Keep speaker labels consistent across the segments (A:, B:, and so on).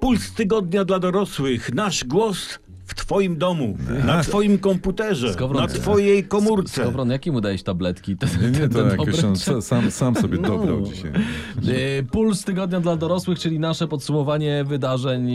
A: Puls tygodnia dla dorosłych. Nasz głos w twoim domu,
B: Tak.
A: na twoim komputerze,
B: Skowron-
A: na twojej komórce.
B: Skowron, jakie mu dajesz tabletki? Te, te,
C: Nie,
B: te
C: nie, to
B: dobre
C: jakoś on
B: czy-
C: sa- sam, sam sobie
B: No.
C: dobrał dzisiaj.
B: E, Puls tygodnia dla dorosłych, czyli nasze podsumowanie wydarzeń, e,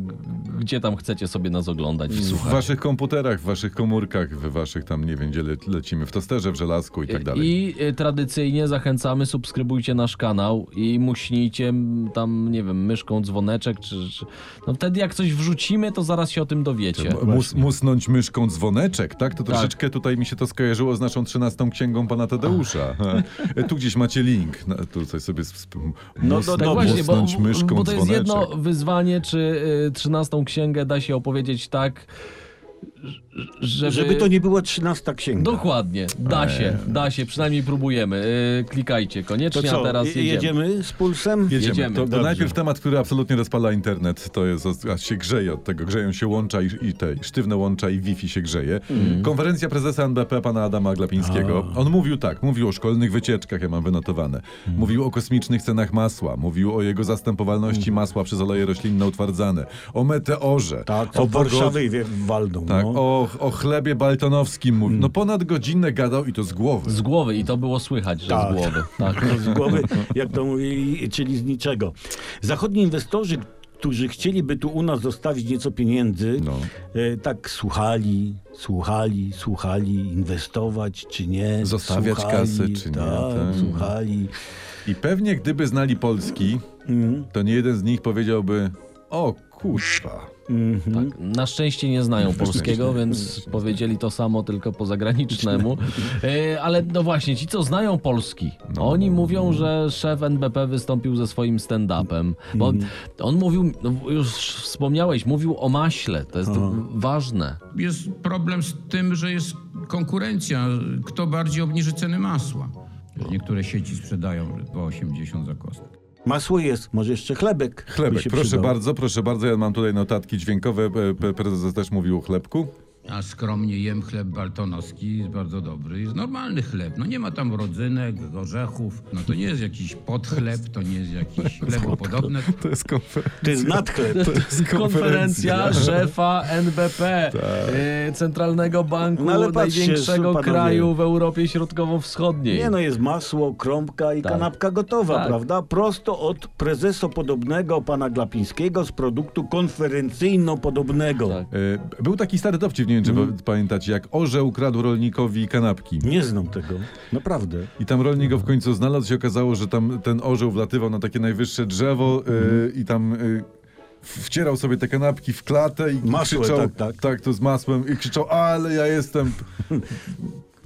B: g- gdzie tam chcecie sobie nas oglądać i
C: W
B: słuchać.
C: waszych komputerach, w waszych komórkach, w waszych tam, nie wiem, gdzie le lecimy, w tosterze, w żelazku i tak dalej.
B: I e, tradycyjnie zachęcamy, subskrybujcie nasz kanał i muśnijcie m, tam, nie wiem, myszką, dzwoneczek, czy, czy... No wtedy jak coś wrzucimy, to zaraz się o tym dowiecie.
C: M- Mus, musnąć myszką dzwoneczek, tak? To
B: Tak.
C: troszeczkę tutaj mi się to skojarzyło z naszą 13 księgą pana Tadeusza. E, tu gdzieś macie link. No, tutaj sobie sp-
A: No,
C: mus,
A: no,
B: Tak
A: no,
B: właśnie, bo,
C: musnąć myszką
B: bo to jest
C: dzwoneczek.
B: jedno wyzwanie, czy y, 13 księgę da się opowiedzieć tak, ż- żeby...
A: Żeby to nie była trzynasta księga.
B: Dokładnie, da się, da się, przynajmniej próbujemy. Y, klikajcie
A: To
B: koniecznie, a
A: co,
B: teraz jedziemy.
A: jedziemy z pulsem?
C: Jedziemy.
B: Jedziemy.
C: To, to
A: Dobrze.
C: najpierw temat, który absolutnie rozpala internet, to jest, aż się grzeje od tego, grzeją się łącza i, i te sztywne łącza i Wi-Fi się grzeje.
A: Mhm.
C: Konferencja prezesa NBP pana Adama Glapińskiego. On mówił tak, mówił o szkolnych wycieczkach, ja mam wynotowane.
A: Mhm.
C: Mówił o kosmicznych cenach masła, mówił o jego zastępowalności
A: Mhm.
C: masła przez oleje roślinne utwardzane, o meteorze,
A: Tak,
C: o
A: to
C: pogod-
A: Warszawy wie- walną.
C: Tak,
A: no. Mhm.
C: o, o chlebie baltonowskim mówił. No ponad godzinę gadał i to z głowy.
B: Z głowy i to było słychać, że
A: Tak.
B: z głowy. Tak.
A: z głowy, jak to mówili, czyli z niczego. Zachodni inwestorzy, którzy chcieliby tu u nas zostawić nieco pieniędzy,
C: No.
A: e, tak słuchali, słuchali, słuchali, inwestować czy nie.
C: Zostawiać
A: słuchali,
C: kasę, czy nie,
A: Tak,
C: tak.
A: słuchali.
C: I pewnie gdyby znali polski,
A: Mhm.
C: to nie jeden z nich powiedziałby: O kurwa.
A: Mhm.
B: Tak. Na szczęście nie znają polskiego, więc powiedzieli to samo tylko po zagranicznemu. E, Ale no właśnie, ci co znają Polski,
A: No.
B: oni mówią, że szef NBP wystąpił ze swoim stand-upem. Bo
A: Mhm.
B: on, on mówił, no już wspomniałeś, mówił o maśle, to jest ważne.
D: jest problem z tym, że jest konkurencja. Kto bardziej obniży ceny masła? Niektóre sieci sprzedają po 80 za kostkę.
A: Masło jest, może jeszcze chlebek. by
C: Chlebek,
A: się
C: proszę
A: przydał.
C: bardzo, proszę bardzo. Ja mam tutaj notatki dźwiękowe. P- p- Prezes też mówił o chlebku.
D: A skromnie jem chleb baltonowski, jest bardzo dobry. Jest normalny chleb. No nie ma tam rodzynek, orzechów. No to nie jest jakiś podchleb, to nie jest jakiś chlebopodobne.
C: To jest konferencja.
A: To jest nadchleb.
B: Konferencja szefa NBP,
C: Tak.
B: e, Centralnego Banku
A: No ale patrzcie,
B: największego
A: panowie.
B: kraju w Europie Środkowo-Wschodniej.
A: Nie no, jest masło, kromka i
B: Tak.
A: kanapka gotowa,
B: Tak.
A: prawda? Prosto od prezesopodobnego pana Glapińskiego z produktu konferencyjno-podobnego.
B: Tak.
C: E, Był taki stary dowcip, nie wiem czy
A: Mhm.
C: pa- pamiętacie, jak orzeł kradł rolnikowi kanapki.
A: Nie znam tego, naprawdę.
C: I tam rolnik go w końcu znalazł. się okazało, że tam ten orzeł wlatywał na takie najwyższe drzewo
A: Mhm.
C: y, i tam y, wcierał sobie te kanapki w klatę i
A: Masłem,
C: krzyczał,
A: tak, tak.
C: tak, to z masłem, i krzyczał, ale ja jestem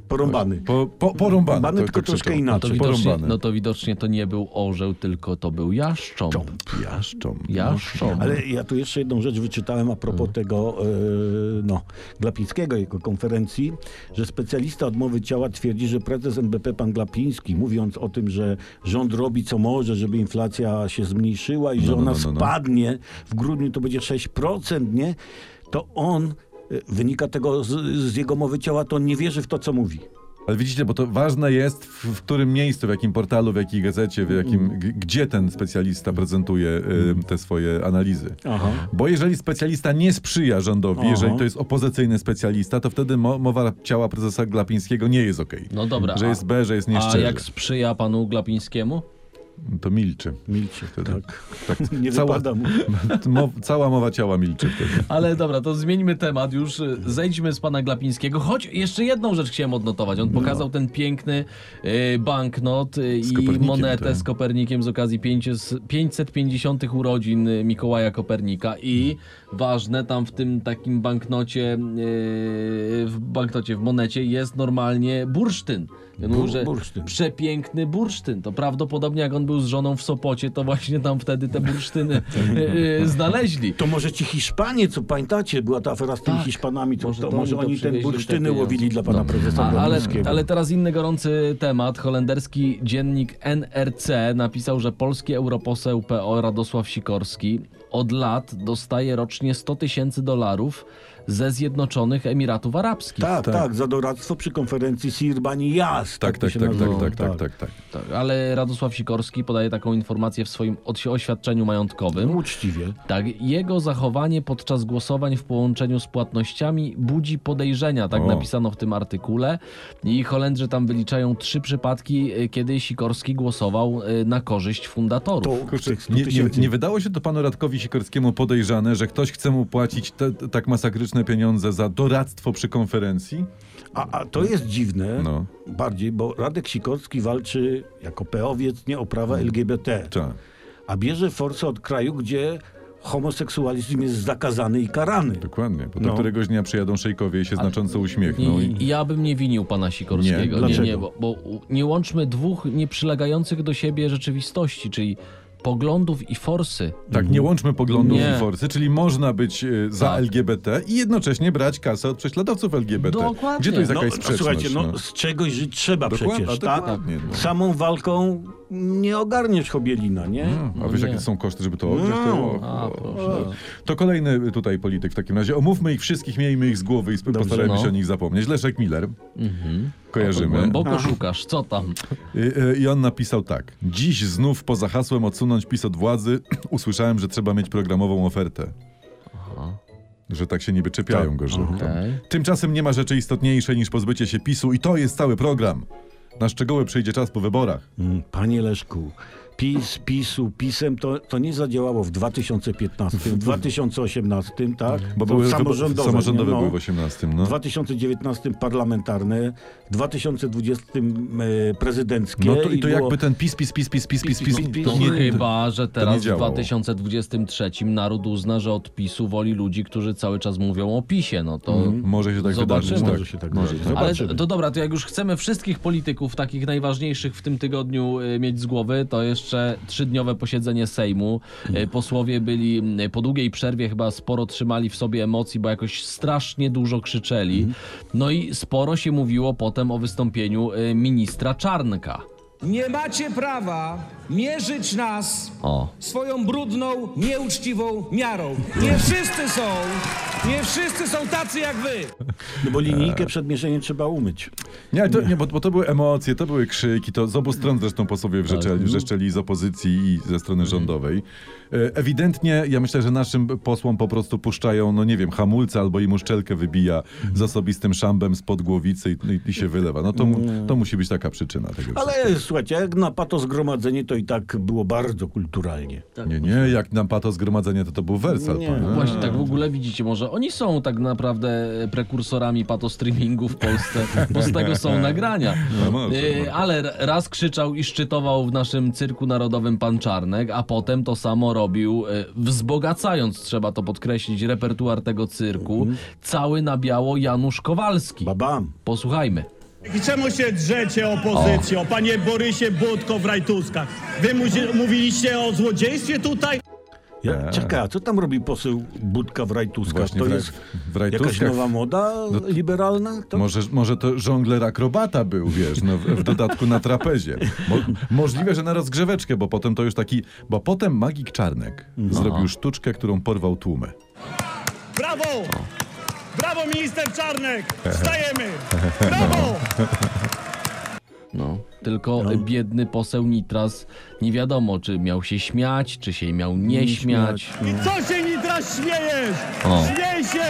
A: Porąbany.
C: Po, po, porąbany.
A: Bany,
C: to- to
A: tylko troszkę
C: krzyczą.
B: To
A: inaczej.
B: widocznie,
C: Porąbane.
B: no to widocznie to nie był orzeł, tylko to był jaszcząb.
C: Jaszcząb.
B: Jaszcząb.
A: Ale ja tu jeszcze jedną rzecz wyczytałem a propos
C: Mm.
A: tego yy, no, Glapińskiego, jego konferencji, że specjalista odmowy ciała twierdzi, że prezes NBP, pan Glapiński, mówiąc o tym, że rząd robi co może, żeby inflacja się zmniejszyła i że
C: no,
A: ona
C: no, no, no.
A: spadnie, w grudniu to będzie 6%, nie? To on, y, wynika tego z, z jego mowy ciała, to on nie wierzy w to, co mówi.
C: Ale widzicie, bo to ważne jest, w, w którym miejscu, w jakim portalu, w jakiej gazecie, w jakim, g- gdzie ten specjalista prezentuje y, te swoje analizy.
A: Aha.
C: Bo jeżeli specjalista nie sprzyja rządowi,
A: Aha.
C: jeżeli to jest opozycyjny specjalista, to wtedy mo- mowa ciała prezesa Glapińskiego nie jest okej.
B: No dobra,
C: Że
B: a-
C: jest B, że jest
B: A
C: nieszczerzy.
B: jak sprzyja panu Glapińskiemu?
C: To milczy.
A: Milczy
C: Wtedy.
A: tak.
C: Tak,
A: Nie
C: cała,
A: wypada mu.
C: mo, cała mowa ciała milczy wtedy. Tak,
B: Ale dobra, to zmieńmy temat już, y, zejdźmy z pana Glapińskiego. Choć jeszcze jedną rzecz chciałem odnotować. On pokazał ten piękny y, banknot y, i
C: Kopernikiem,
B: monetę
C: tak.
B: z Kopernikiem z okazji 500 550 urodzin y, Mikołaja Kopernika i ważne, tam w tym takim banknocie, y, w banknocie, w monecie jest normalnie bursztyn. Ja mówię,
A: Bur-
B: że
A: bursztyn.
B: Przepiękny bursztyn. To prawdopodobnie jak on był z żoną w Sopocie, to właśnie tam wtedy te bursztyny y, y, znaleźli.
A: To może ci Hiszpanie, co pamiętacie, była ta afera z tymi
B: Tak.
A: Hiszpanami, to
B: Może
A: może,
B: to
A: to, może
B: oni to
A: oni ten
B: przywieźli, te
A: bursztyny
B: pieniądze.
A: łowili dla pana prezesa
B: A, ale,
A: Glapińskiego.
B: ale teraz inny gorący temat. Holenderski dziennik NRC napisał, że polski europoseł PO Radosław Sikorski od lat dostaje rocznie 100 tysięcy dolarów ze Zjednoczonych Emiratów Arabskich.
A: Tak, tak, za doradztwo przy konferencji Sirbani Jas.
C: Tak, tak,
A: to się
C: tak, tak,
A: nazywało.
C: tak, tak, tak, tak.
B: Tak, ale Radosław Sikorski podaje taką informację w swoim odsi- oświadczeniu majątkowym.
A: No, Uczciwie.
B: Tak, jego zachowanie podczas głosowań w połączeniu z płatnościami budzi podejrzenia, tak
C: O.
B: napisano w tym artykule. I Holendrzy tam wyliczają trzy przypadki, y, kiedy Sikorski głosował y, na korzyść fundatorów.
A: To w
C: Kurczę,
A: tych 100
C: nie, nie,
A: tysięcy.
C: nie wydało się to panu Radkowi Sikorskiemu podejrzane, że ktoś chce mu płacić te, tak masakryczne pieniądze za doradztwo przy konferencji?
A: A, a to jest dziwne
C: No.
A: bardziej, bo Radek Sikorski walczy jako peowiec nie o prawa LGBT,
C: Tak.
A: a bierze forsę od kraju, gdzie homoseksualizm jest zakazany i karany.
C: Dokładnie, bo do
A: No.
C: któregoś dnia przyjadą szejkowie i się znacząco uśmiechną.
B: I,
C: no I...
B: i ja bym nie winił pana
C: Nie,
B: Sikorskiego. nie,
A: dlaczego?
B: nie bo, bo u- nie łączmy dwóch nieprzylegających do siebie rzeczywistości, czyli poglądów i forsy.
C: Tak, nie łączmy poglądów
B: Nie.
C: i forsy, czyli można być e, za
B: Tak.
C: LGBT i jednocześnie brać kasę od prześladowców LGBT.
B: Dokładnie.
C: Gdzie to jest
A: No,
C: jakaś
A: no,
C: sprzeczność?
A: słuchajcie, no, z czegoś żyć trzeba
C: Dokładnie,
A: przecież,
C: a
A: tak?
C: dokładnie, no.
A: Samą walką nie ogarniesz Hobielina, nie?
C: A wiesz,
B: No nie.
C: jakie są koszty, żeby to odgrzać?
A: No.
C: To,
B: A, proszę.
C: to kolejny tutaj polityk w takim razie. Omówmy ich wszystkich, miejmy ich z głowy i sp- postarajmy
B: no. Mhm.
C: się o nich zapomnieć. Leszek Miller. Kojarzymy.
B: Głęboko szukasz, co tam?
C: Y, y, I on napisał tak. Dziś znów poza hasłem odsunąć PiS od władzy usłyszałem, że trzeba mieć programową ofertę. Że tak się niby czepiają go, że...
B: Okej.
C: Tymczasem nie ma rzeczy istotniejszej niż pozbycie się PiSu i to jest cały program. Na szczegóły przyjdzie czas po wyborach.
A: Mm, Panie Leszku, PiS, PiSu, PiSem to, to nie zadziałało w 2015, w 2018, tak?
C: Bo
A: To
C: były wybo-
A: samorządowe,
C: samorządowe
A: nie? No.
C: były w 18. No.
A: W 2019 parlamentarne, w 2020 e, prezydenckie.
C: No to, i to
A: było- tak,
C: jakby ten PiS, PiS, PiS, PiS, PiS, PiS, PiS, PiS,
B: No, To
C: nie-
B: chyba, że teraz w
C: działało.
B: 2023 naród uzna, że od PiSu woli ludzi, którzy cały czas mówią o PiSie. No to...
C: Może się tak
B: Zobaczymy.
C: wydarzyć.
A: Może
C: tak.
A: się tak
C: Może
A: zdarzyć.
C: tak.
B: Ale
A: Zobaczymy.
B: to dobra, to jak już chcemy wszystkich polityków, takich najważniejszych w tym tygodniu y, mieć z głowy, to jeszcze trzydniowe posiedzenie Sejmu. Y,
C: Mhm.
B: Posłowie byli y, po długiej przerwie chyba sporo trzymali w sobie emocji, bo jakoś strasznie dużo krzyczeli.
C: Mhm.
B: No i sporo się mówiło potem o wystąpieniu y, ministra Czarnka.
E: Nie macie prawa mierzyć nas
B: O.
E: swoją brudną, nieuczciwą miarą. Nie wszyscy są, nie wszyscy są tacy jak wy.
A: No bo
C: E.
A: linijkę przed mierzeniem trzeba umyć.
C: Nie, ale to, nie bo, bo to były emocje, to były krzyki, to z obu stron zresztą posłowie wrzeszczeli, wrzeszczeli z opozycji i ze strony rządowej. E, Ewidentnie, ja myślę, że naszym posłom po prostu puszczają, no nie wiem, hamulce albo im uszczelkę wybija z osobistym szambem spod głowicy i, i, i się wylewa. No to, mu- to musi być taka przyczyna tego
A: Ale słuchajcie, jak na pato zgromadzenie, to i tak było bardzo kulturalnie.
C: wszystkiego. Nie, nie, jak nam pato zgromadzenie, to to był wersal.
A: Nie.
C: Pan,
B: Właśnie tak
A: no.
B: w ogóle widzicie, może oni są tak naprawdę prekursorami patostreamingu w Polsce, bo z tego są nagrania.
C: No może,
B: Y,
C: może.
B: Ale raz krzyczał i szczytował w naszym cyrku narodowym pan Czarnek, a potem to samo robił, y, wzbogacając, trzeba to podkreślić, repertuar tego cyrku,
A: Mhm.
B: cały na biało Janusz Kowalski.
A: Babam.
B: Posłuchajmy.
F: I czemu się drzecie opozycją, panie Borysie Budko w Rajtuskach? Wy muzie- mówiliście o złodziejstwie tutaj?
A: Ja, E, czekaj, a co tam robi poseł Budka w Rajtuskach?
C: Właśnie
A: to
C: w Raj-
A: jest
C: w Rajtuskach. No
A: jakaś nowa moda liberalna? To...
C: Może, może to żongler akrobata był, wiesz, no, w, w dodatku na trapezie. Mo, możliwe, że na rozgrzeweczkę, bo potem to już taki... Bo potem magik Czarnek
B: No.
C: zrobił sztuczkę, którą porwał tłumy.
F: Brawo! Brawo, minister Czarnek! Wstajemy! Brawo!
B: No. Tylko y, biedny poseł Nitras nie wiadomo, czy miał się śmiać, czy się miał nie śmiać.
F: I co się Nitras śmiejesz?
B: O.
F: Śmiej się!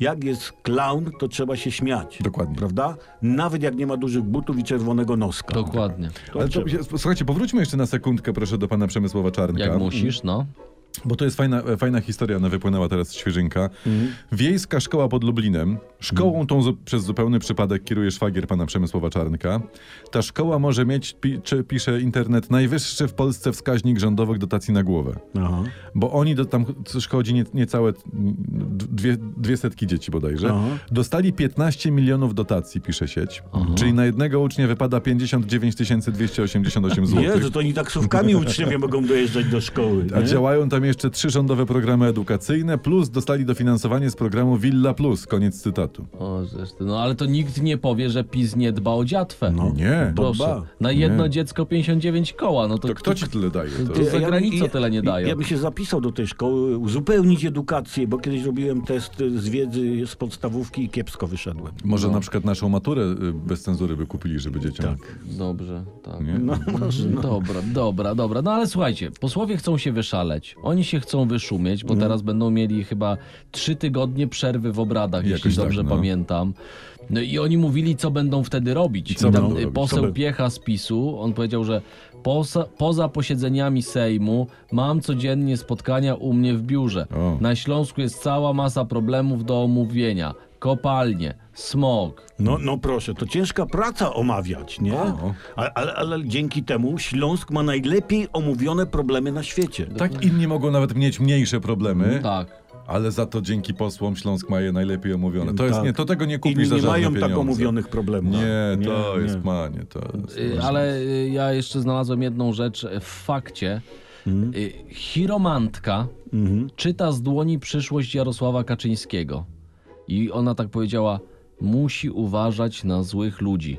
A: Jak jest clown, to trzeba się śmiać.
C: Dokładnie.
A: Prawda? Nawet jak nie ma dużych butów i czerwonego noska.
B: Dokładnie.
A: To
C: Ale to,
A: trzeba.
C: słuchajcie, powróćmy jeszcze na sekundkę, proszę, do pana Przemysława Czarnka. Mm.
B: Jak musisz, no.
C: Bo to jest fajna, e, fajna historia, ona wypłynęła teraz świeżynka.
B: Mhm.
C: Wiejska szkoła pod Lublinem. Szkołą tą zu- przez zupełny przypadek kieruje szwagier pana Przemysława Czarnka. Ta szkoła może mieć, pi, czy pisze internet, najwyższy w Polsce wskaźnik rządowych dotacji na głowę.
A: Aha.
C: Bo oni do tam co szkodzi nie, niecałe mm, dwie, dwie setki dzieci bodajże.
A: Aha.
C: Dostali 15 milionów dotacji, pisze sieć. Czyli na jednego ucznia wypada 59 288 zł.
A: Jezu, to oni taksówkami tak uczniowie mogą dojeżdżać do szkoły.
C: No, tak. A
A: nie?
C: działają tak potem jeszcze trzy rządowe programy edukacyjne, plus dostali dofinansowanie z programu Villa Plus. Koniec cytatu.
B: O, zresztą, no ale to nikt nie powie, że PiS nie dba o dziatwę.
A: No.
C: Nie.
A: Bo-
B: Proszę.
A: Dba.
B: Na jedno
C: Nie.
B: dziecko 59 koła. No to,
C: To kto ci tyle daje? To?
B: To- za
A: bym-
B: granicą tyle nie dają.
A: Ja bym się zapisał do tej szkoły, uzupełnić edukację, bo kiedyś robiłem test y, z wiedzy z podstawówki i kiepsko wyszedłem.
C: Może na przykład naszą maturę y, bez cenzury by kupili, żeby dzieciom.
A: Tak.
B: Dobrze, tak.
C: Nie?
B: Dobra, dobra, dobra. No ale słuchajcie, posłowie chcą się wyszaleć. Oni się chcą wyszumieć,
C: No.
B: bo teraz będą mieli chyba trzy tygodnie przerwy w obradach,
C: Jakoś
B: jeśli
C: tak,
B: dobrze
C: no.
B: pamiętam. No i oni mówili, co będą wtedy robić.
C: I co
B: Tam,
C: będą
B: y,
C: robić?
B: Poseł
C: Co by-
B: Piecha z PiSu, on powiedział, że poza, poza posiedzeniami Sejmu mam codziennie spotkania u mnie w biurze.
C: O.
B: Na Śląsku jest cała masa problemów do omówienia. Kopalnie, smog,
A: No, no proszę, to ciężka praca omawiać, nie?
C: O.
A: Ale, ale, ale dzięki temu Śląsk ma najlepiej omówione problemy na świecie.
C: Tak, inni mogą nawet mieć mniejsze problemy,
B: tak.
C: ale za to dzięki posłom Śląsk ma je najlepiej omówione. To jest
A: Tak.
C: nie, to tego nie kupisz
A: Inni
C: za
A: nie
C: żadne
A: mają tak
C: pieniądze.
A: omówionych problemów.
C: Nie,
A: Nie,
C: to
A: nie.
C: jest panie, to jest...
B: Y, Ale y, ja jeszcze znalazłem jedną rzecz e, w fakcie.
C: Mhm.
B: Y, Chiromantka czyta z dłoni przyszłość Jarosława Kaczyńskiego. I ona tak powiedziała: musi uważać na złych ludzi.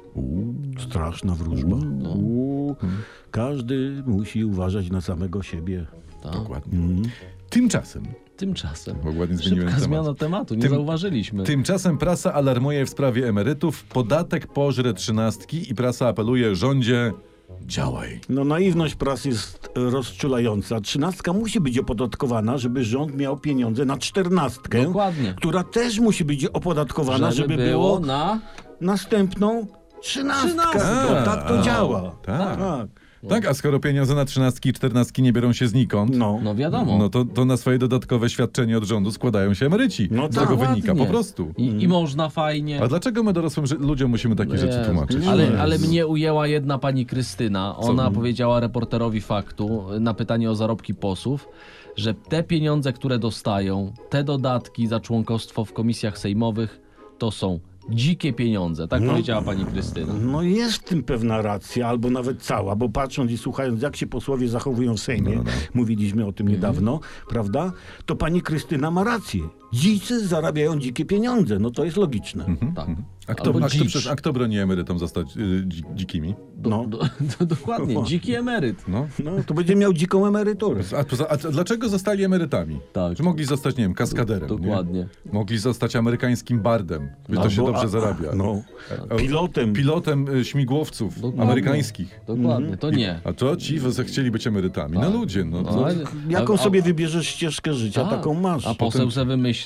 A: Straszna wróżba.
C: No.
A: Uuu. Każdy musi uważać na samego siebie.
C: Dokładnie.
A: Mhm.
C: Tymczasem,
B: Tymczasem.
C: bo ładnie zmieniłem
B: Szybka
C: temat.
B: zmiana tematu, nie
C: Tym-
B: zauważyliśmy.
C: Tymczasem prasa alarmuje w sprawie emerytów, podatek pożre trzynastki i prasa apeluje rządzie, działaj.
A: No naiwność prasy jest e, rozczulająca. Trzynastka musi być opodatkowana, żeby rząd miał pieniądze na czternastkę.
B: Dokładnie.
A: Która też musi być opodatkowana, żeby,
B: było
A: było
B: na.
A: następną trzynastkę.
C: A,
A: To, tak to
C: a,
A: działa.
C: tak.
A: tak.
C: Tak, a skoro pieniądze na trzynastki i czternastki nie biorą się znikąd,
A: No.
B: No wiadomo.
C: no to, to na swoje dodatkowe świadczenie od rządu składają się emeryci.
A: No
C: Z
A: tak,
C: tego
B: Ładnie.
C: wynika po prostu.
B: I, i można fajnie.
C: A dlaczego my dorosłym ży- ludziom musimy takie rzeczy
B: Jezu.
C: tłumaczyć?
B: No
A: No.
B: Ale, ale mnie ujęła jedna pani Krystyna. Ona powiedziała reporterowi faktu y, na pytanie o zarobki posłów, że te pieniądze, które dostają, te dodatki za członkostwo w komisjach sejmowych, to są dzikie pieniądze. Tak powiedziała pani Krystyna.
A: No jest w tym pewna racja, albo nawet cała, bo patrząc i słuchając, jak się posłowie zachowują w Sejmie,
C: No,
A: mówiliśmy o tym
C: Mhm.
A: niedawno, prawda? To pani Krystyna ma rację. Dzicy zarabiają dzikie pieniądze, no to jest logiczne.
C: Mhm.
B: Tak.
C: A kto,
B: Albo
C: a, kto,
B: dzicz.
C: przecież- a kto broni emerytom zostać y, dzi- dzikimi?
A: No.
B: Do, do, dokładnie, dziki emeryt.
C: No.
A: No, to będzie miał dziką emeryturę.
C: A, poza- a dlaczego zostali emerytami?
B: Tak.
C: Czy mogli zostać, nie wiem, kaskaderem?
B: Dokładnie.
C: Nie? Mogli zostać amerykańskim bardem, by to się
A: Albo-
C: dobrze
A: a-
C: zarabia.
A: No.
C: A-
A: Pilotem.
C: Pilotem y, śmigłowców
B: Dokładnie.
C: amerykańskich.
B: Dokładnie, to nie.
C: A to ci w- chcieli być emerytami. No ludzie, Mhm. no.
B: No,
C: To,
B: ale-
A: Jaką
B: a-
A: sobie
B: a-
A: wybierzesz ścieżkę życia,
B: tak.
A: taką masz.
B: A poseł se wymyślił,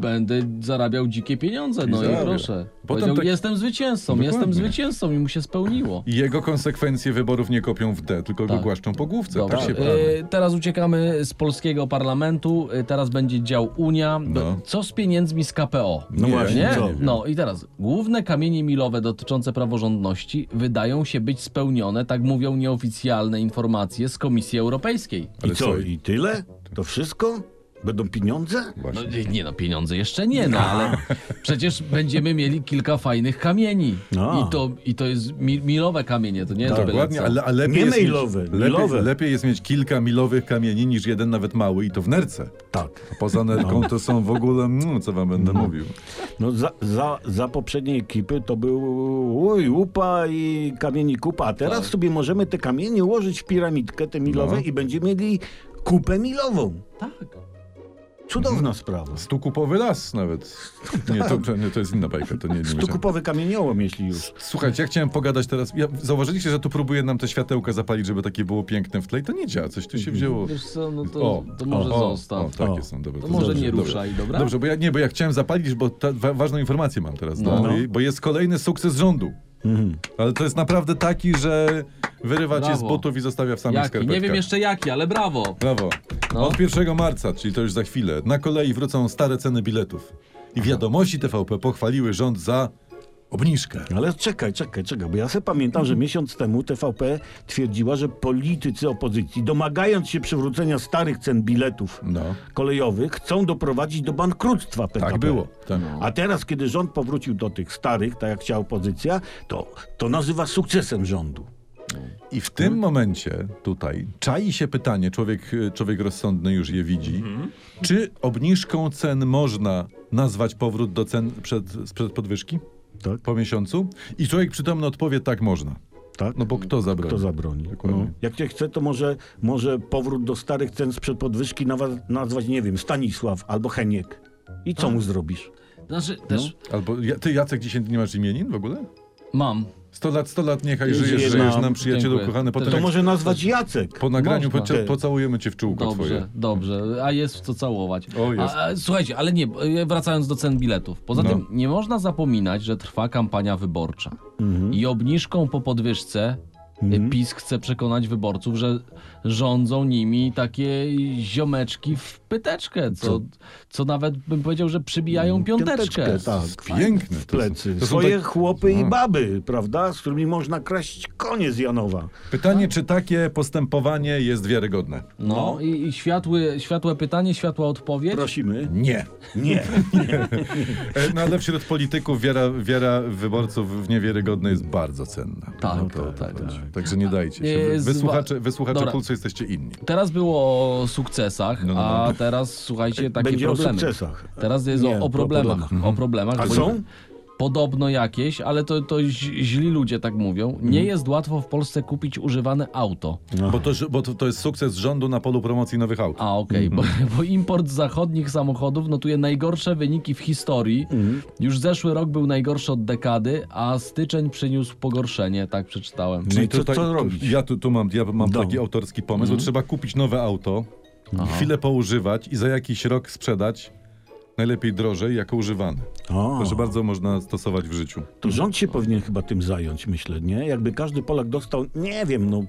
B: będę zarabiał dzikie pieniądze. No i,
C: zarabia.
B: proszę.
C: Potem
B: Powiedział,
C: tak-
B: jestem zwycięzcą, jestem
C: Dokładnie.
B: zwycięzcą i mu się spełniło.
C: I jego konsekwencje wyborów nie kopią w D, tylko
B: Tak.
C: go głaszczą po główce.
B: Dobra.
C: Tak się
B: y, teraz uciekamy z polskiego parlamentu, y, teraz będzie dział Unia.
C: No.
B: Co z pieniędzmi z KPO?
A: No
C: Nie,
A: właśnie,
B: Nie?
A: co?
C: wiem.
B: No i teraz, główne kamienie milowe dotyczące praworządności wydają się być spełnione, tak mówią nieoficjalne informacje z Komisji Europejskiej.
A: I co, i tyle? To wszystko? Będą pieniądze?
B: No, y, nie no, pieniądze jeszcze nie, no ale przecież będziemy mieli kilka fajnych kamieni.
A: No.
B: I to, I to jest mi, milowe kamienie, to nie jest byle
C: Dokładnie,
B: co.
C: Tak, ale, ale lepiej
A: Nie
C: jest
A: mailowe,
C: mieć, lepiej,
A: milowe.
C: lepiej jest mieć kilka milowych kamieni niż jeden nawet mały i to w nerce.
A: Tak.
C: Poza nerką to są w ogóle, mm, co wam będę mówił.
A: No za, za, za poprzedniej ekipy to był uj, łupa i kamieni kupa, a teraz sobie możemy te kamienie ułożyć w piramidkę, te milowe
C: No.
A: i będziemy mieli kupę milową.
B: Tak.
A: Cudowna sprawa.
C: Stukupowy las nawet. Nie, to, nie, to jest inna bajka, to nie, nie mieszam.
A: Stukupowy kamieniołom, jeśli już.
C: Słuchajcie, ja chciałem pogadać teraz. Ja, zauważyliście, że tu próbuję nam te światełka zapalić, żeby takie było piękne w tle i to nie działa, coś tu się wzięło.
B: Wiesz co, no to, to może zostaw.
C: O, takie
A: O.
C: są, dobra.
B: To może
C: dobrze,
B: nie
C: dobra.
B: ruszaj, dobra?
C: Dobrze, bo ja nie, bo ja chciałem zapalić, bo ta, wa, ważną informację mam teraz. No.
A: No.
C: I- Bo jest kolejny sukces rządu.
A: Mhm.
C: Ale to jest naprawdę taki, że wyrywa cię z
B: Brawo.
C: butów i zostawia w samych
B: Jaki?
C: skarpetkach.
B: Nie wiem jeszcze jaki, ale brawo.
C: Brawo.
B: No.
C: Od 1 marca, czyli to już za chwilę, na kolei wrócą stare ceny biletów. I wiadomości TVP pochwaliły rząd za obniżkę.
A: Ale czekaj, czekaj, czekaj, bo ja sobie pamiętam, że miesiąc temu TVP twierdziła, że politycy opozycji, domagając się przywrócenia starych cen biletów
C: No.
A: kolejowych, chcą doprowadzić do bankructwa PKP.
C: Tak było. Tak.
A: A teraz, kiedy rząd powrócił do tych starych, tak jak chciała opozycja, to, to nazywa sukcesem rządu.
C: I w tym momencie tutaj czai się pytanie, człowiek, człowiek rozsądny już je widzi, czy obniżką cen można nazwać powrót do cen przed, sprzed podwyżki
A: Tak,
C: po miesiącu? I człowiek przytomny odpowie, tak można.
A: tak.
C: No bo Tak, kto zabroni?
A: Kto zabroni?
C: Dokładnie.
A: No. Jak cię chce, to może, może powrót do starych cen sprzed podwyżki nawa- nazwać, nie wiem, Stanisław albo Heniek. I co mu zrobisz?
B: Znaczy,
C: No.
B: też
C: Albo ja- ty Jacek dzisiaj nie masz imienin w ogóle?
B: mam.
C: 100 lat, 100 lat, niechaj
A: Żyję
C: żyjesz,
A: nam.
C: żyjesz nam przyjacielu
B: Dziękuję.
C: kochany. Potem
A: To
C: jak
A: może nazwać Jacek.
C: po nagraniu
B: Można.
C: pocia- pocałujemy cię w czółko
B: Dobrze,
C: twoje.
B: dobrze. A jest w co całować.
C: O, jest.
B: A, a, słuchajcie, ale nie, e, wracając do cen biletów. Poza
C: No.
B: tym nie można zapominać, że trwa kampania wyborcza. I obniżką po podwyżce mhm. PiS chce przekonać wyborców, że rządzą nimi takie ziomeczki w pyteczkę, co, co nawet bym powiedział, że przybijają piąteczkę.
A: tak.
C: Piękne
A: W
C: to są.
A: plecy.
C: To są
A: Swoje
C: tak-
A: chłopy i baby, prawda? Z którymi można kraść konie z Janowa.
C: Pytanie, czy takie postępowanie jest wiarygodne?
B: No, i, i światły, światłe pytanie, światła odpowiedź.
A: Prosimy.
C: Nie.
A: Nie.
C: E, No ale wśród polityków wiara, wiara wyborców w niewiarygodne jest bardzo cenna. No
B: Tak, to, tak.
C: Także nie dajcie się.
B: E,
C: Wy-
B: zwa-
C: Wysłuchacze, wysłuchacze
B: Dobra.
C: pulsu jesteście inni.
B: Teraz było o sukcesach,
C: No, no, no.
B: a teraz słuchajcie takie
A: Będzie o
B: problemy.
A: sukcesach.
B: Teraz jest
A: Nie,
B: o, o problemach. O problemach.
A: A
B: bo-
A: są?
B: Podobno jakieś, ale to, to ź- źli ludzie tak mówią. Nie
A: Mhm.
B: jest łatwo w Polsce kupić używane auto.
C: Bo, to, bo to, to jest sukces rządu na polu promocji nowych aut.
B: A okej,
A: Mhm.
B: bo, bo import zachodnich samochodów notuje najgorsze wyniki w historii.
A: Mhm.
B: Już zeszły rok był najgorszy od dekady, a styczeń przyniósł pogorszenie, tak przeczytałem.
A: No i co, co robić?
C: Ja tu, tu mam, ja mam
A: No.
C: taki autorski pomysł. Trzeba kupić nowe auto, chwilę poużywać i za jakiś rok sprzedać. Najlepiej drożej, jako używany.
A: O,
C: Proszę bardzo, można stosować w życiu.
A: to rząd się powinien chyba tym zająć, myślę, nie? Jakby każdy Polak dostał, nie wiem, no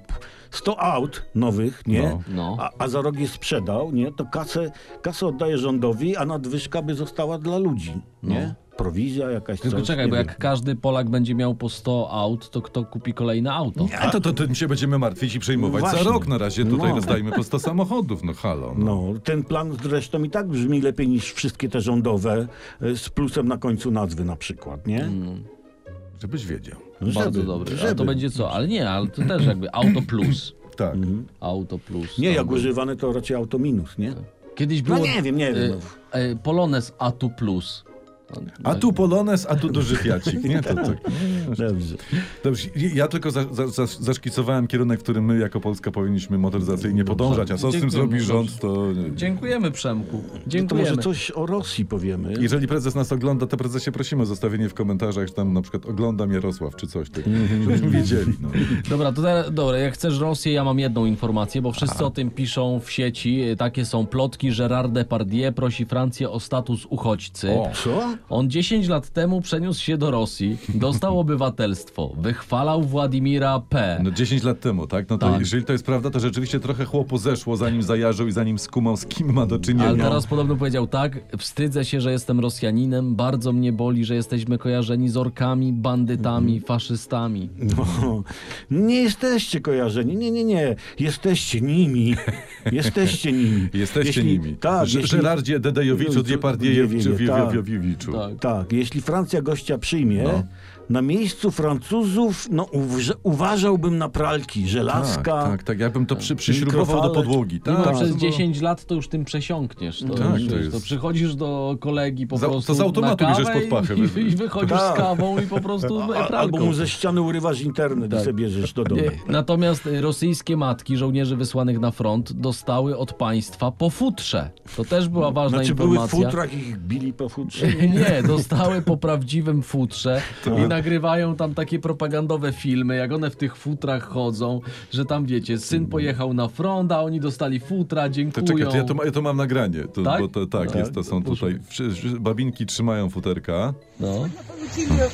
A: 100 aut nowych, nie?
C: No.
B: No.
A: A, a za rok je sprzedał, nie? To kasę, kasę oddaje rządowi, a nadwyżka by została dla ludzi, nie? Prowizja jakaś,
B: Tylko
A: coś,
B: czekaj,
A: nie
B: bo
A: wiem.
B: jak każdy Polak będzie miał po 100 aut, to kto kupi kolejne auto?
C: A to, to tym się będziemy martwić i przejmować
A: No
C: za
A: właśnie.
C: rok. Na razie tutaj
A: No.
C: rozdajmy po 100 samochodów. No halo. No.
A: No, ten plan zresztą i tak brzmi lepiej niż wszystkie te rządowe y, z plusem na końcu nazwy na przykład, nie?
C: Żebyś wiedział.
A: No,
B: Mm, Bardzo
A: żeby-
B: dobry. A
A: żeby.
B: to będzie co? Ale nie, ale to też jakby Auto Plus.
C: Tak.
B: Auto Plus.
A: Nie,
B: tam
A: jak
B: był.
A: używane to raczej auto minus,
B: Tak.
A: nie?
B: Kiedyś
A: No
B: było...
A: nie wiem, nie wiem.
B: E, e, Polones Atu Plus.
C: A tu Polones, a tu duży Fiacik. Nie, to, to...
B: E,
A: Dobrze.
C: Dobrze, ja tylko za, za, za, zaszkicowałem kierunek, w którym my jako Polska powinniśmy motoryzacyjnie podążać, a co z tym
B: Dziękuję,
C: zrobi
B: no
C: rząd, to...
B: Dziękujemy Przemku.
A: To
B: Dziękujemy.
A: może coś o Rosji powiemy.
C: Jeżeli prezes nas ogląda, to prezesie prosimy o zostawienie w komentarzach, że tam na przykład oglądam Jarosław czy coś, tak, żebyśmy wiedzieli. No.
B: Dobra, to teraz, dobra, jak chcesz Rosję, ja mam jedną informację, bo wszyscy o tym piszą w sieci. Takie są plotki. Gerard Depardieu prosi Francję o status uchodźcy.
A: Co?
B: On 10 lat temu przeniósł się do Rosji, dostał obywatelstwo, wychwalał Władimira P.
C: No 10 lat temu, tak? No to
B: Tak.
C: jeżeli to jest prawda, to rzeczywiście trochę chłopu zeszło, zanim zajarzył i zanim skumał, z kim ma do czynienia.
A: no.
B: Ale teraz podobno powiedział tak, wstydzę się, że jestem Rosjaninem, bardzo mnie boli, że jesteśmy kojarzeni z orkami,
A: Mhm.
B: bandytami, faszystami.
A: No, nie jesteście kojarzeni. Nie, nie, nie. Jesteście nimi. Jesteście nimi.
C: Jesteście
A: Jeśli-
C: nimi.
A: Tak,
C: Ż-
A: jeśli,
C: Żerardzie Dedejowiczu, Diepardiejewiczu,
A: Dziewiewiczu, tak.
C: Wiewiewiczu. No.
B: Tak.
A: tak, jeśli Francja gościa przyjmie, na miejscu Francuzów no, uwrze- uważałbym na pralki, żelazka.
C: Tak, tak, tak. Jakbym to przy, przyśrubował do
A: Mikrofale.
C: podłogi.
B: Mimo
C: Tak,
B: przez
C: no.
B: 10 lat to już tym przesiąkniesz. To,
C: Tak,
B: już,
C: to
B: to,
C: jest-
B: przychodzisz do kolegi po
C: Za- to
B: prostu.
C: z automatu
B: na
C: bierzesz
B: kawę
C: pod pachę.
B: I, i wychodzisz z
A: Tak.
B: kawą i po prostu
A: A-
B: pralką. Tak.
A: Albo mu ze ściany urywasz internet i sobie bierzesz do domu.
B: E, Natomiast e, rosyjskie matki żołnierzy wysłanych na front dostały od państwa po futrze. To też była ważna
A: Znaczy były w
B: informacja.
A: futrach i ich bili po futrze.
B: Nie, dostały po prawdziwym futrze
C: Tak.
B: i nagrywają tam takie propagandowe filmy, jak one w tych futrach chodzą, że tam wiecie, syn pojechał na front, a oni dostali futra,
C: Mhm. To
B: dziękują.
C: czekaj, to ja, to, ma- ja to mam nagranie. To,
B: Tak?
C: Bo to, tak,
B: Tak.
C: jest, to są tutaj. wszy- wszy- Babinki trzymają futerka.
B: No.
G: получили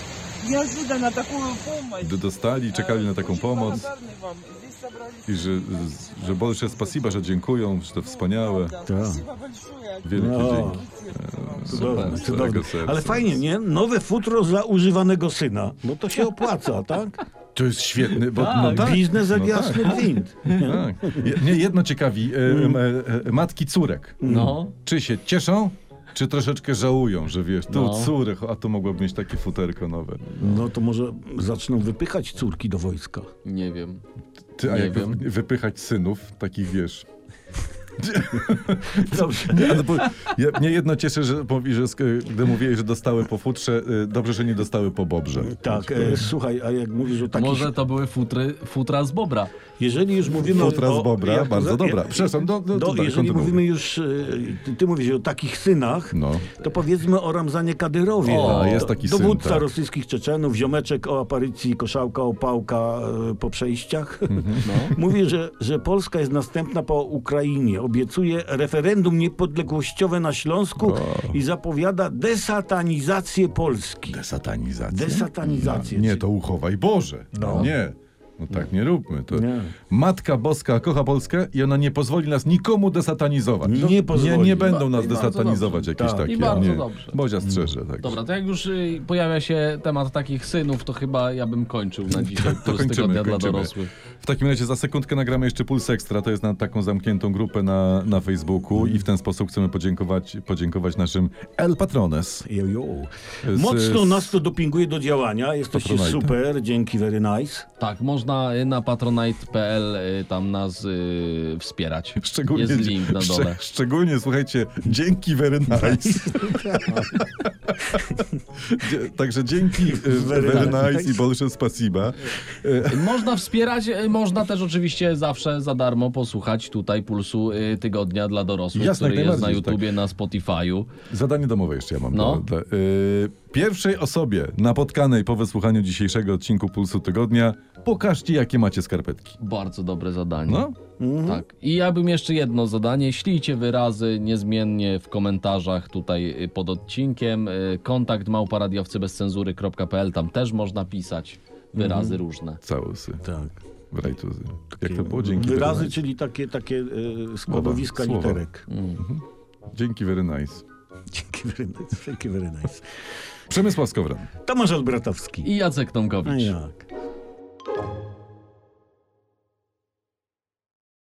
G: неожиданно такую помощь.
C: Gdy dostali, czekali na taką
G: Очень
C: pomoc
G: благодарны вам. Здесь собрались.
C: i że, z- że Bolsze spasiba, że dziękują, że to wspaniałe.
G: Да,
A: Да.
G: Спасибо большое.
C: Wielkie
A: No.
C: dzięki.
A: Cudowne, cudowne.
C: z całego serca.
A: Ale fajnie, nie? Nowe futro za używanego syna. Bo to się opłaca, tak?
C: To jest świetny, bo no tak.
A: Biznes jak
C: no
A: jasny gwint.
C: Tak. Je- Mnie jedno ciekawi, e,
B: Mm.
C: e, e, matki córek.
B: No.
C: Czy się cieszą, czy troszeczkę żałują, że wiesz, tu
B: No.
C: córek, a tu mogłaby mieć takie futerko nowe.
A: No to może zaczną wypychać córki do wojska.
B: Nie wiem.
C: Ty, a
B: Nie
C: jak wy-
B: wiem.
C: wypychać synów, takich wiesz.
A: Dobrze.
C: Nie, ale bo, ja, mnie jedno cieszy, że, mówi, że sk- gdy mówiłeś, że dostały po futrze, y, dobrze, że nie dostały po bobrze.
B: Mm,
A: Tak, e, słuchaj, a jak mówisz o takich...
B: Może to były futry, futra z bobra.
A: Jeżeli już mówimy
C: Futra z
A: o...
C: bobra,
A: jak-
C: bardzo
A: ja-
C: dobra. Przepraszam, do- do- dobra,
A: Jeżeli
C: kontynuuj.
A: mówimy już... e, Ty, ty mówisz o takich synach,
C: No.
A: to powiedzmy o Ramzanie Kadyrowie.
C: O,
A: Do-
C: jest taki syn,
A: Dowódca
C: tak.
A: rosyjskich Czeczenów, ziomeczek o aparycji koszałka, opałka e, po przejściach.
C: Mhm. No.
A: Mówi, że, że Polska jest następna po Ukrainie. Obiecuje referendum niepodległościowe na Śląsku i zapowiada desatanizację Polski.
C: Desatanizacja.
A: Desatanizację.
C: Nie, to uchowaj Boże. No. Nie. No tak nie róbmy. To
A: Nie.
C: Matka Boska kocha Polskę i ona nie pozwoli nas nikomu desatanizować.
A: Nie
C: nie,
A: pozwoli.
C: nie będą
B: No I
C: nas
B: bardzo
C: desatanizować
B: dobrze.
C: jakieś
A: Tak.
C: takie.
B: I bardzo
C: nie.
B: dobrze.
C: Bozia strzeże. Tak.
B: Dobra, to jak już y, pojawia się temat takich synów, to chyba ja bym kończył na dzisiaj
C: To
B: plus tygodnia
C: kończymy,
B: dla
C: kończymy.
B: dorosłych.
C: W takim razie za sekundkę nagramy jeszcze Puls Ekstra, to jest na taką zamkniętą grupę na, na Facebooku i w ten sposób chcemy podziękować, podziękować naszym El Patrones.
A: Jo, jo.
C: Z-
A: Mocno
C: z-
A: nas to dopinguje do działania. Jesteście
C: Patronite'a.
A: super, dzięki, very nice.
B: Tak, można y, na patronite.pl y, tam nas y, wspierać.
C: Szczególnie,
B: Jest link na
C: szcze-
B: dole.
C: szczególnie, słuchajcie, dzięki very nice. Dzie- Także dzięki e,
A: Very
C: very, nice
A: nice.
C: i bolsze spasiba.
B: Można wspierać, y, można też oczywiście zawsze za darmo posłuchać tutaj Pulsu y, Tygodnia dla Dorosłych,
C: Jasne, jak
B: który jest na
C: najbardziej, tak.
B: YouTubie, na Spotify'u.
C: Zadanie domowe jeszcze ja mam.
B: No.
C: Do, do, e, pierwszej osobie napotkanej po wysłuchaniu dzisiejszego odcinku Pulsu Tygodnia pokażcie, jakie macie skarpetki.
B: Bardzo dobre zadanie.
C: No,
B: Tak. I ja bym jeszcze jedno zadanie. Ślijcie wyrazy niezmiennie w komentarzach tutaj y, pod odcinkiem. Y, Kontakt małparadiowcy bez cenzury.pl, tam też można pisać wyrazy różne.
C: całusy.
A: Tak.
C: Rajtuzy. Jak to było? Dzięki
A: Wyrazy,
C: very nice.
A: czyli takie, takie e, składowiska
C: Słowa.
A: literek.
C: Dzięki very nice.
A: Dzięki very nice, dzięki very nice.
C: Przemysław Skowron.
A: Tomasz Albratowski. No
B: I Jacek Tomkowicz.
A: A jak?